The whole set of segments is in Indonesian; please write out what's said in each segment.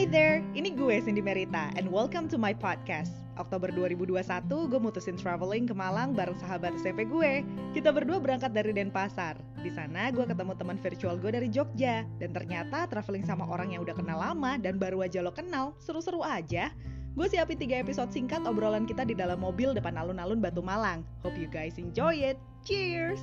ini gue Cindy Merita and welcome to my podcast. Oktober 2021 gue mutusin traveling ke Malang bareng sahabat SMP gue. Kita berdua berangkat dari Denpasar. Di sana gue ketemu teman virtual gue dari Jogja dan ternyata traveling sama orang yang udah kenal lama dan baru aja lo kenal, seru-seru aja. Gue siapin 3 episode singkat obrolan kita di dalam mobil depan alun-alun Batu Malang. Hope you guys enjoy it. Cheers!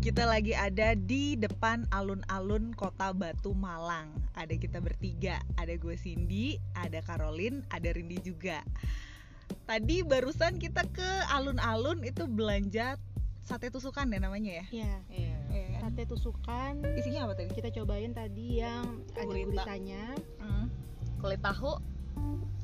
Kita lagi ada di depan alun-alun kota Batu Malang. Ada kita bertiga, ada gue Cindy, ada Caroline, ada Rindi juga. Tadi barusan kita ke alun-alun itu belanja sate tusukan ya namanya ya. Ya, Iya kan? sate tusukan Isinya apa tadi? kita cobain tadi yang ada Gurita. guritanya. Hmm. kulit tahu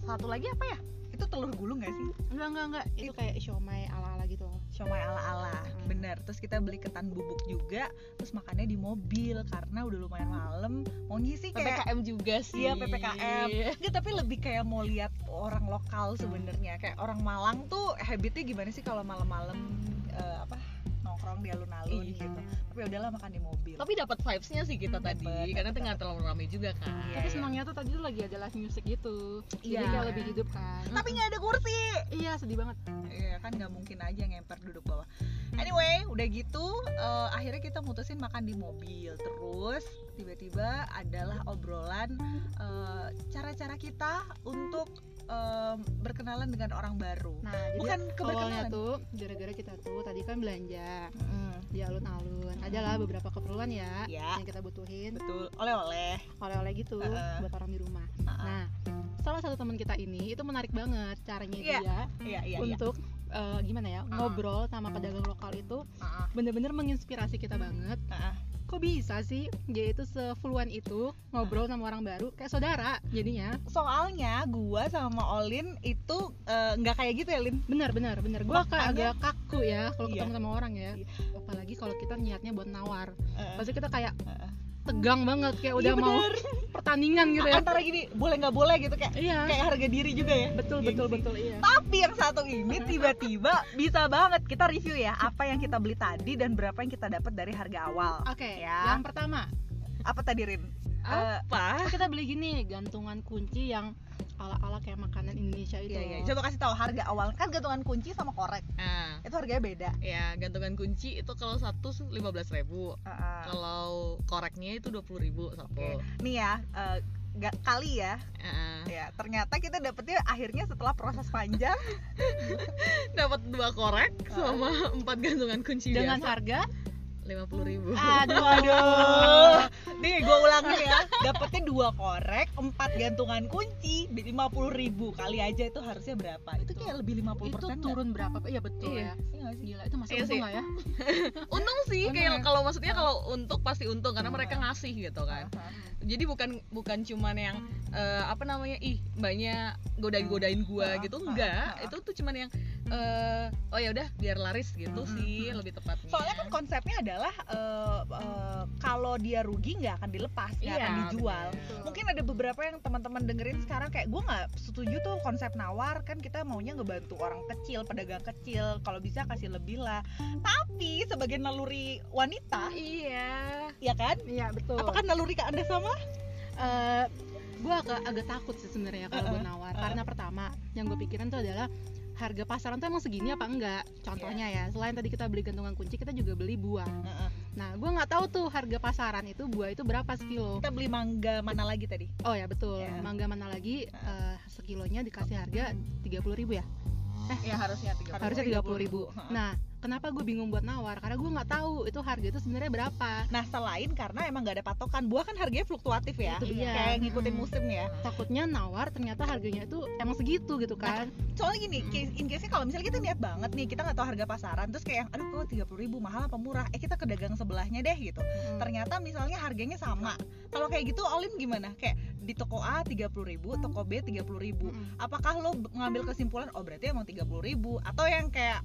satu lagi apa ya Itu telur gulung gak sih? Enggak, enggak, enggak. Itu kayak siomay ala-ala gitu loh. Siomay ala-ala. Hmm. Bener. Terus kita beli ketan bubuk juga. Terus makannya di mobil karena udah lumayan malam. Maunya sih kayak ppkm juga sih Iya, PPKM. Nggak, tapi lebih kayak mau lihat orang lokal sebenarnya. Kayak orang Malang tuh habitnya gimana sih kalau malam-malam eh, apa nongkrong di alun-alun Iya. gitu. Tapi udahlah makan di mobil. tapi dapat vibesnya sih kita tadi Dapet, karena dapet, tengah terlalu ramai juga kan Iya, Tapi iya. senangnya tuh tadi tuh lagi ada live music gitu. Jadi Iya. kayak lebih hidup kan. Tapi nggak ada kursi. iya, sedih banget. Iya kan nggak mungkin aja ngemper duduk bawah. Anyway, udah gitu eh, akhirnya kita mutusin makan di mobil. Terus tiba-tiba adalah obrolan eh, cara-cara kita untuk eh, berkenalan dengan orang baru. Nah, jadi Bukan awalnya keberkenalan. tuh gara-gara kita tuh tadi kan belanja Mm, di alun-alun. Adalah beberapa keperluan ya Ya. yang kita butuhin betul. Oleh-oleh. oleh-oleh gitu Heeh. buat orang di rumah. Heeh. Nah, salah satu teman kita ini itu menarik banget caranya ya. Iya. dia Iya, iya, Hmm. iya. untuk eh, gimana ya ngobrol sama pedagang lokal itu Heeh. bener-bener menginspirasi kita banget Heeh. kok bisa sih dia itu sefluan itu ngobrol Hmm. sama orang baru kayak saudara jadinya soalnya gua sama Olin itu eh, nggak kayak gitu ya Lin benar benar benar gua kayak Makanya- agak kaku ya kalau Iya. ketemu sama orang ya Iya. apalagi kalau kita niatnya buat nawar Eh, pasti kita kayak Heeh. tegang banget Iya, kayak udah mau bener. Ah, pertandingan gitu ya antara gini boleh nggak boleh gitu kayak iya kayak harga diri juga ya betul gengsi. betul betul iya tapi yang satu ini tiba-tiba bisa banget kita review ya apa yang kita beli tadi dan berapa yang kita dapat dari harga awal oke Ya. yang pertama apa tadi Rin Ah, Eh, apa kita beli gini gantungan kunci yang ala-ala kayak makanan Indonesia itu iya, iya. loh. coba kasih tahu harga awal kan gantungan kunci sama korek nah itu harganya beda ya gantungan kunci itu kalau satu lima belas ribu Heeh. kalau koreknya itu dua puluh ribu satu Ah. Oke. nih ya eh, nggak- kali ya Heeh. ya ternyata kita dapetnya akhirnya setelah proses panjang dapat dua korek Ah. sama empat gantungan kunci dengan biasa harga lima puluh ribu Ah. aduh Waduh. Nih gue ulangin ya. Dapatnya dua korek, empat gantungan kunci di 50.000 ribu kali aja itu harusnya berapa? Itu kayak lebih 50 itu persen. turun berapa iya betul Iya. ya sih? gila itu masih Iya untung sih. lah ya untung sih Untung ya? kayak kalau maksudnya Ah. kalau untuk pasti untung karena Hmm. mereka ngasih gitu Iya. kan jadi bukan bukan cuman yang eh, apa namanya ih mbaknya godain godain gua Ah, gitu ah, ah, enggak ah. itu tuh cuman yang eh, oh ya udah biar laris gitu Hmm, sih hmm. lebih tepatnya Soalnya kan konsepnya adalah eh, eh, kalau dia rugi nggak akan dilepas, nggak akan Iya, dijual. bener. Mungkin ada beberapa yang teman-teman dengerin sekarang kayak gue nggak setuju tuh konsep nawar kan kita maunya ngebantu orang kecil, pedagang kecil, kalau bisa kasih lebih lah. Tapi sebagai naluri wanita, iya ya kan? iya betul Apakah naluri ke anda sama? gue agak agak takut sih sebenarnya kalau gue nawar karena pertama yang gue pikirin tuh adalah harga pasaran tuh emang segini apa enggak contohnya ya selain tadi kita beli gantungan kunci kita juga beli buah Heeh. nah gue nggak tahu tuh harga pasaran itu buah itu berapa sekilo Kita beli mangga mana lagi tadi? oh ya betul Iya. mangga mana lagi eh, sekilonya dikasih harga tiga puluh ribu ya ya harusnya tiga harusnya tiga puluh ribu Heeh. nah kenapa gue bingung buat nawar karena gue nggak tahu itu harga itu sebenarnya berapa Nah selain karena emang nggak ada patokan Buah kan harganya fluktuatif ya Itu dia. Kayak ngikutin Mm. musim ya takutnya nawar ternyata harganya itu emang segitu Nah, gitu kan Soalnya gini, Mm. case- in case-nya kalau misalnya kita niat banget nih Kita nggak tahu harga pasaran Terus kayak, aduh kalau 30 ribu mahal apa murah Eh kita ke dagang sebelahnya deh gitu Hmm. Ternyata misalnya harganya sama Kalau kayak gitu Olin gimana? Kayak di toko A 30 ribu, toko B 30 ribu Mm. Apakah lo b- ngambil kesimpulan, oh berarti emang 30 ribu Atau yang kayak,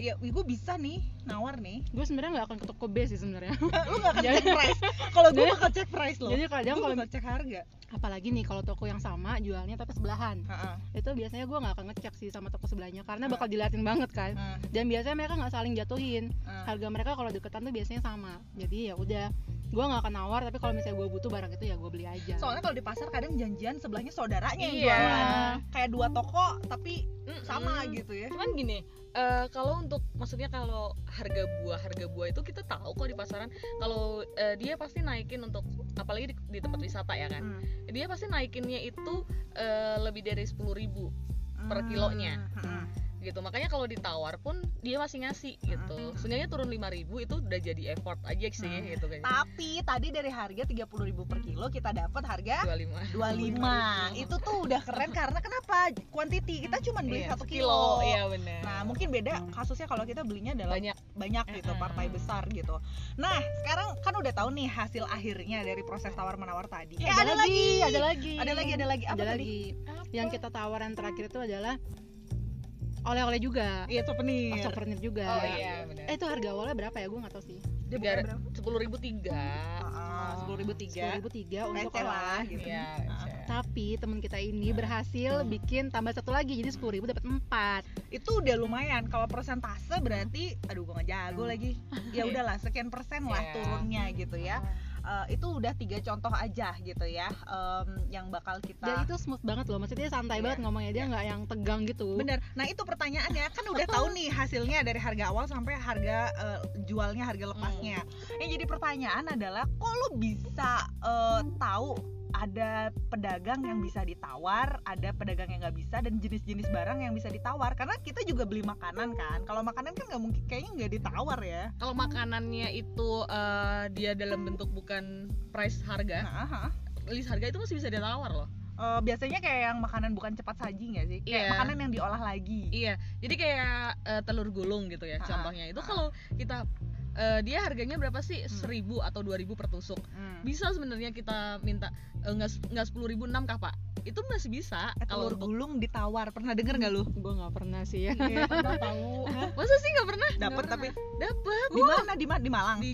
ya gue bisa nih nawar nih gue sebenarnya nggak akan ke toko B sih sebenarnya lu gak akan check price kalau gue bakal sempat cek price loh. jadi kadang Gua kalau sempat cek harga. apalagi nih kalau toko yang sama jualnya tapi sebelahan Heeh. itu biasanya gue nggak akan ngecek sih sama toko sebelahnya karena Ah. bakal diliatin banget kan Ah. dan biasanya mereka nggak saling jatuhin Ah. harga mereka kalau deketan tuh biasanya sama jadi ya udah gue nggak akan nawar tapi kalau misalnya gue butuh barang itu ya gue beli aja Soalnya kalau di pasar kadang janjian sebelahnya saudaranya yang Iya. jualan. Kayak dua toko tapi Mm-mm. sama gitu ya. cuman gini eh, kalau untuk maksudnya kalau harga buah harga buah itu kita tahu kok di pasaran kalau eh, dia pasti naikin untuk apalagi di, di tempat wisata ya kan Hmm. dia pasti naikinnya itu eh, lebih dari sepuluh ribu Per kilonya. Hmm. gitu makanya kalau ditawar pun dia masih ngasih gitu sebenarnya turun 5000 itu udah jadi effort aja sih Hmm. gitu kayaknya Tapi tadi dari harga 30.000 per kilo kita dapat harga 25 25. Itu tuh udah keren karena kenapa? Quantity kita cuma beli Iya, satu kilo kilo. iya benar Nah, mungkin beda kasusnya kalau kita belinya dalam banyak banyak gitu Mm-mm. partai besar gitu. Nah, sekarang kan udah tahu nih hasil akhirnya dari proses tawar menawar tadi. Eh, ada, lagi, ada lagi Ada lagi, ada lagi. Apa ada tadi? lagi yang kita tawaran terakhir itu adalah oleh-oleh juga Iya, souvenir. souvenir juga oh iya benar eh itu harga awalnya berapa ya gue nggak tahu sih Dia Tiga- bukannya berapa? sepuluh ribu tiga Heeh, 10.000 tiga untuk Receh lah oleh-oleh gitu. Iya, Ah. bisa. tapi teman kita ini Hmm. berhasil bikin tambah satu lagi jadi sepuluh ribu dapat empat Itu udah lumayan. Kalau persentase berarti aduh gua nggak jago lagi. Ya udahlah sekian persen lah Iya. turunnya gitu ya. Eh, itu udah tiga contoh aja gitu ya em, yang bakal kita dan itu smooth banget loh maksudnya santai Iya. banget ngomongnya dia Iya. nggak yang tegang gitu Bener. Nah itu pertanyaannya kan udah tahu nih hasilnya dari harga awal sampai harga eh, jualnya harga lepasnya. Hmm. Yang jadi pertanyaan adalah kok lu bisa eh, tahu ada pedagang yang bisa ditawar, ada pedagang yang nggak bisa dan jenis-jenis barang yang bisa ditawar. Karena kita juga beli makanan kan. Kalau makanan kan nggak mungkin kayaknya nggak ditawar ya. kalau makanannya itu eh, dia dalam bentuk bukan price harga Nah, aha. list harga itu masih bisa ditawar loh Eh, biasanya kayak yang makanan bukan cepat saji nggak sih? Kayak Iya. makanan yang diolah lagi. iya jadi kayak eh, telur gulung gitu ya Ah, contohnya itu ah. kalau kita eh, dia harganya berapa sih? Hmm. 1000 atau 2000 per tusuk. Hmm. Bisa sebenarnya kita minta eh, nggak se- nggak 10.000 enam kah, Pak? Itu masih bisa Eh, kalau telur untuk gulung ditawar. Pernah denger nggak lu? gue nggak pernah sih ya Iya, tahu. Masa sih nggak pernah? Dapat tapi Dapat di mana di mana di Malang di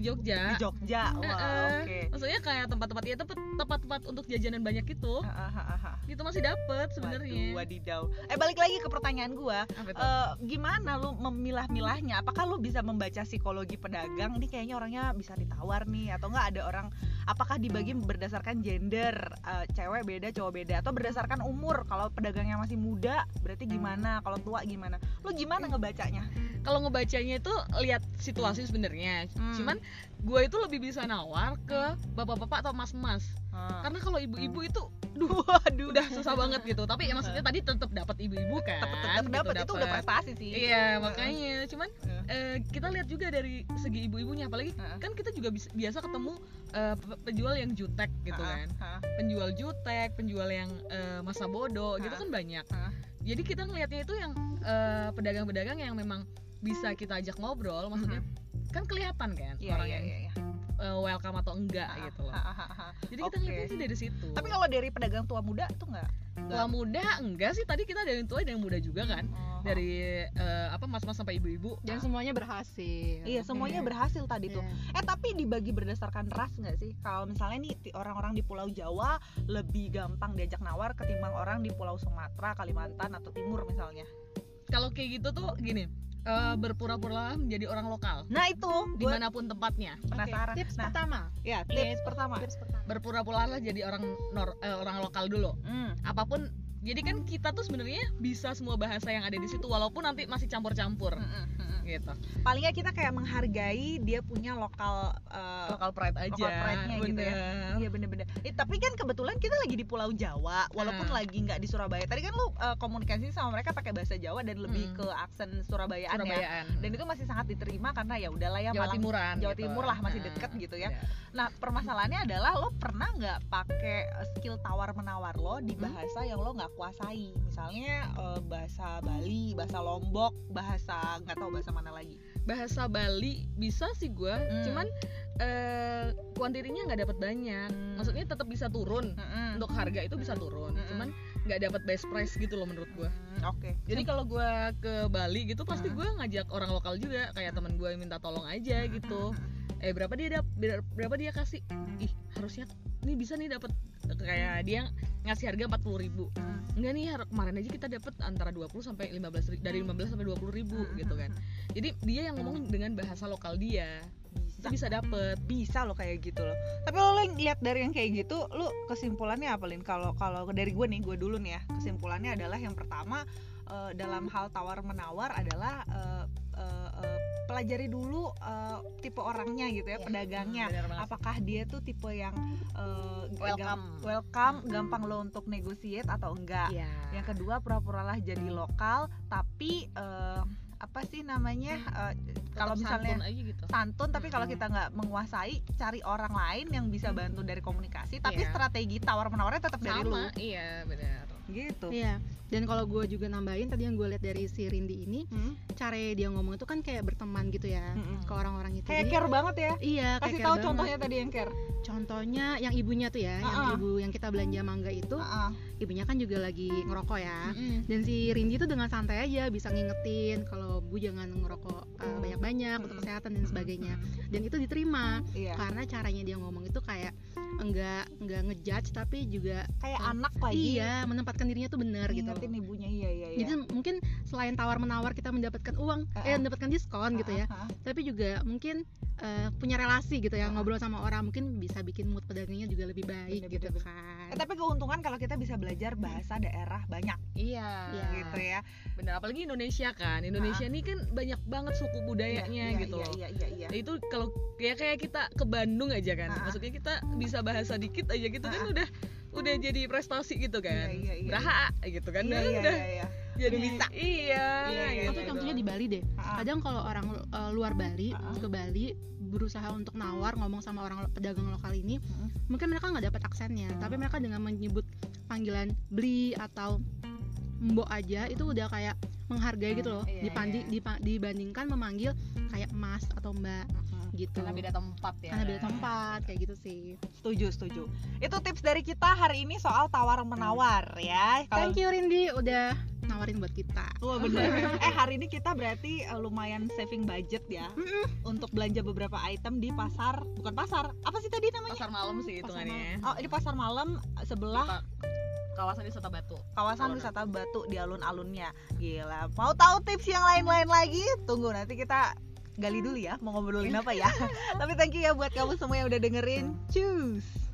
di Jogja. Jogja wah Heeh. oke Maksudnya kayak tempat-tempat ya tempat- tempat-tempat untuk jajanan banyak gitu. Heeh, heeh, heeh. Gitu masih dapat Waduh, sebenarnya. wadidaw. Eh balik lagi ke pertanyaan gua, Apa itu? Eh, gimana lu memilah-milahnya? Apakah lu bisa membaca psikologi pedagang? Ini kayaknya orangnya bisa ditawar nih atau enggak ada orang apakah dibagi berdasarkan gender? Eh, cewek beda, cowok beda atau berdasarkan umur? Kalau pedagangnya masih muda berarti Hmm. gimana? Kalau tua gimana? Lu gimana ngebacanya? Eh, Kalau ngebacanya itu lihat situasi sebenarnya. Hmm. Cuman gue itu lebih bisa nawar ke bapak-bapak atau mas-mas. Hmm. Karena kalau ibu-ibu itu duh Waduh, udah susah banget gitu tapi ya maksudnya tadi tetap dapat ibu-ibu kan tetap gitu, dapat itu udah dapet. prestasi sih. iya makanya cuman Heeh. eh, kita lihat juga dari segi ibu-ibunya apalagi Heeh. kan kita juga bis- biasa ketemu eh, pe- penjual yang jutek gitu Heeh, kan heeh. penjual jutek penjual yang eh, masa bodoh gitu Heeh. kan banyak Heeh. jadi kita ngelihatnya itu yang eh, pedagang-pedagang yang memang bisa kita ajak ngobrol maksudnya kan kelihatan kan Iya, orang iya, yang iya, iya. eh, welcome atau enggak Ah, gitu loh ah, ah, ah, ah. jadi kita Oke. ngeliatnya sih dari situ Tapi kalau dari pedagang tua muda tuh nggak? Tua muda enggak sih tadi kita ada yang tua ada yang muda juga kan Oh. dari eh, apa mas-mas sampai ibu-ibu Ya. dan semuanya berhasil Nah. Iya semuanya berhasil tadi tuh. Iya. Eh tapi dibagi berdasarkan ras nggak sih? Kalau misalnya nih ti- orang-orang di Pulau Jawa lebih gampang diajak nawar ketimbang orang di Pulau Sumatera, Kalimantan atau Timur misalnya. kalau kayak gitu tuh gini eh, berpura-pura menjadi orang lokal Nah itu gue dimanapun tempatnya penasaran. tips Nah pertama ya tips pertama. tips pertama berpura-pura lah jadi orang nor- eh, orang lokal dulu Hmm. apapun jadi kan kita tuh sebenarnya bisa semua bahasa yang ada di situ walaupun nanti masih campur-campur Mm, mm, mm, mm. gitu Paling nggak kita kayak menghargai dia punya lokal. eh, lokal pride aja Lokal pride-nya gitu ya. bener. Iya bener-bener. Eh, tapi kan kebetulan kita lagi di Pulau Jawa, walaupun Ah. lagi nggak di Surabaya. Tadi kan lu eh, komunikasi sama mereka pakai bahasa Jawa dan lebih Hmm. ke aksen Surabayaan ya. Surabayaan dan itu masih sangat diterima karena ya udahlah ya Jawa Malang Timuran Jawa gitu. Timur lah, masih Nah, deket gitu ya. iya. nah permasalahannya adalah lo pernah nggak pakai eh, skill tawar menawar lo di Hmm? bahasa yang lo nggak kuasai misalnya eh, bahasa Bali bahasa Lombok bahasa nggak tahu bahasa mana lagi bahasa Bali bisa sih gue Hmm. cuman eh kuantitinya nggak dapat banyak maksudnya tetap bisa turun Mm-mm. untuk harga itu bisa turun Mm-mm. cuman nggak dapat best price gitu loh menurut gue Hmm, oke jadi kalau gue ke Bali gitu pasti Hmm. gue ngajak orang lokal juga kayak temen gue minta tolong aja gitu eh berapa dia dap ber- berapa dia kasih ih harusnya ini bisa nih dapat kayak dia ngasih harga 40.000 ribu enggak nih har- kemarin aja kita dapat antara 20 sampai 15 ri- dari 15 sampai 20 ribu gitu kan jadi dia yang ngomong dengan bahasa lokal dia bisa itu bisa dapet bisa lo kayak gitu loh tapi lo, lo lihat dari yang kayak gitu lo kesimpulannya apa lin kalau kalau dari gue nih gue dulu nih ya kesimpulannya adalah yang pertama eh, dalam hal tawar menawar adalah eh, eh, eh, pelajari dulu eh, tipe orangnya gitu ya Iya. pedagangnya Bener banget. apakah dia tuh tipe yang eh, gam- Welcome. welcome gampang lo untuk negotiate atau enggak Iya. yang kedua pura-puralah jadi lokal tapi eh, apa sih namanya eh, Tetep kalau misalnya santun aja gitu santun tapi kalau Mm-mm. kita nggak menguasai cari orang lain yang bisa bantu dari komunikasi tapi Iya. strategi tawar menawarnya tetap dari lu sama iya benar gitu Iya. Dan kalau gue juga nambahin tadi yang gue lihat dari si Rindi ini, Hmm. cara dia ngomong itu kan kayak berteman gitu ya Mm-mm. ke orang-orang itu. kayak Jadi- care banget ya Iya. kasih kayak care tahu banget. Iya. contohnya tadi yang care Contohnya yang ibunya tuh ya, yang Ah-ah. ibu yang kita belanja mangga itu, Ah, ah. ibunya kan juga lagi ngerokok ya. Mm-mm. Dan si Rindi tuh dengan santai aja bisa ngingetin kalau Bu jangan ngerokok uh, Hmm. banyak-banyak untuk Mm-mm. kesehatan dan sebagainya. Dan itu diterima iya karena caranya dia ngomong itu kayak enggak enggak ngejudge tapi juga kayak Ah, anak lagi iya menempatkan dirinya tuh benar gitu. ngingetin ibunya iya iya iya Jadi mungkin selain tawar menawar kita mendapatkan uang, eh Ah-ah. mendapatkan diskon gitu ya. Ah, ah, ah. Tapi juga mungkin eh, punya relasi gitu ya Ah-ah. ngobrol sama orang mungkin bisa bikin mood pedagangnya juga lebih baik Bener, gitu bener, kan. Eh, tapi keuntungan kalau kita bisa belajar bahasa daerah banyak iya Iya. gitu ya benar apalagi Indonesia kan Indonesia ini kan banyak banget suku budayanya Nah. Iya, gitu iya, loh iya iya iya itu kalau kayak kayak kita ke Bandung aja kan Ah. maksudnya kita bisa bahasa dikit aja gitu kan Ah. udah udah jadi prestasi gitu kan Iya, iya, iya. Braha gitu kan Iya, udah, iya, udah iya, iya. jadi Udah bisa iya, Iya, iya, Atau iya, contohnya gitu. di Bali deh. Ah, ah. Kadang kalau orang eh, luar Bali Ah-ah. ke Bali berusaha untuk nawar ngomong sama orang lo- pedagang lokal ini, Mm-mm. mungkin mereka nggak dapat aksennya, tapi mereka dengan menyebut panggilan beli atau mbok aja itu udah kayak menghargai gitu loh. Iya, dipandi, iya. dipa- dibandingkan memanggil kayak mas atau mbak Mm-mm. gitu. Karena beda tempat ya. Karena beda tempat kayak gitu sih. setuju setuju itu tips dari kita hari ini soal tawar menawar ya kalau Thank you Rindi udah nawarin buat kita. Wah bener. eh hari ini kita berarti eh, lumayan saving budget ya untuk belanja beberapa item di pasar, bukan pasar, apa sih tadi namanya? pasar malam sih hitungannya malam. Oh di pasar malam eh, sebelah Kita- kawasan wisata Batu kawasan alun-alun. wisata Batu di alun-alunnya. Gila. Mau tahu tips yang lain-lain lagi? Tunggu nanti kita gali dulu ya mau ngobrolin apa ya. Tapi thank you ya buat kamu semua yang udah dengerin. Cus.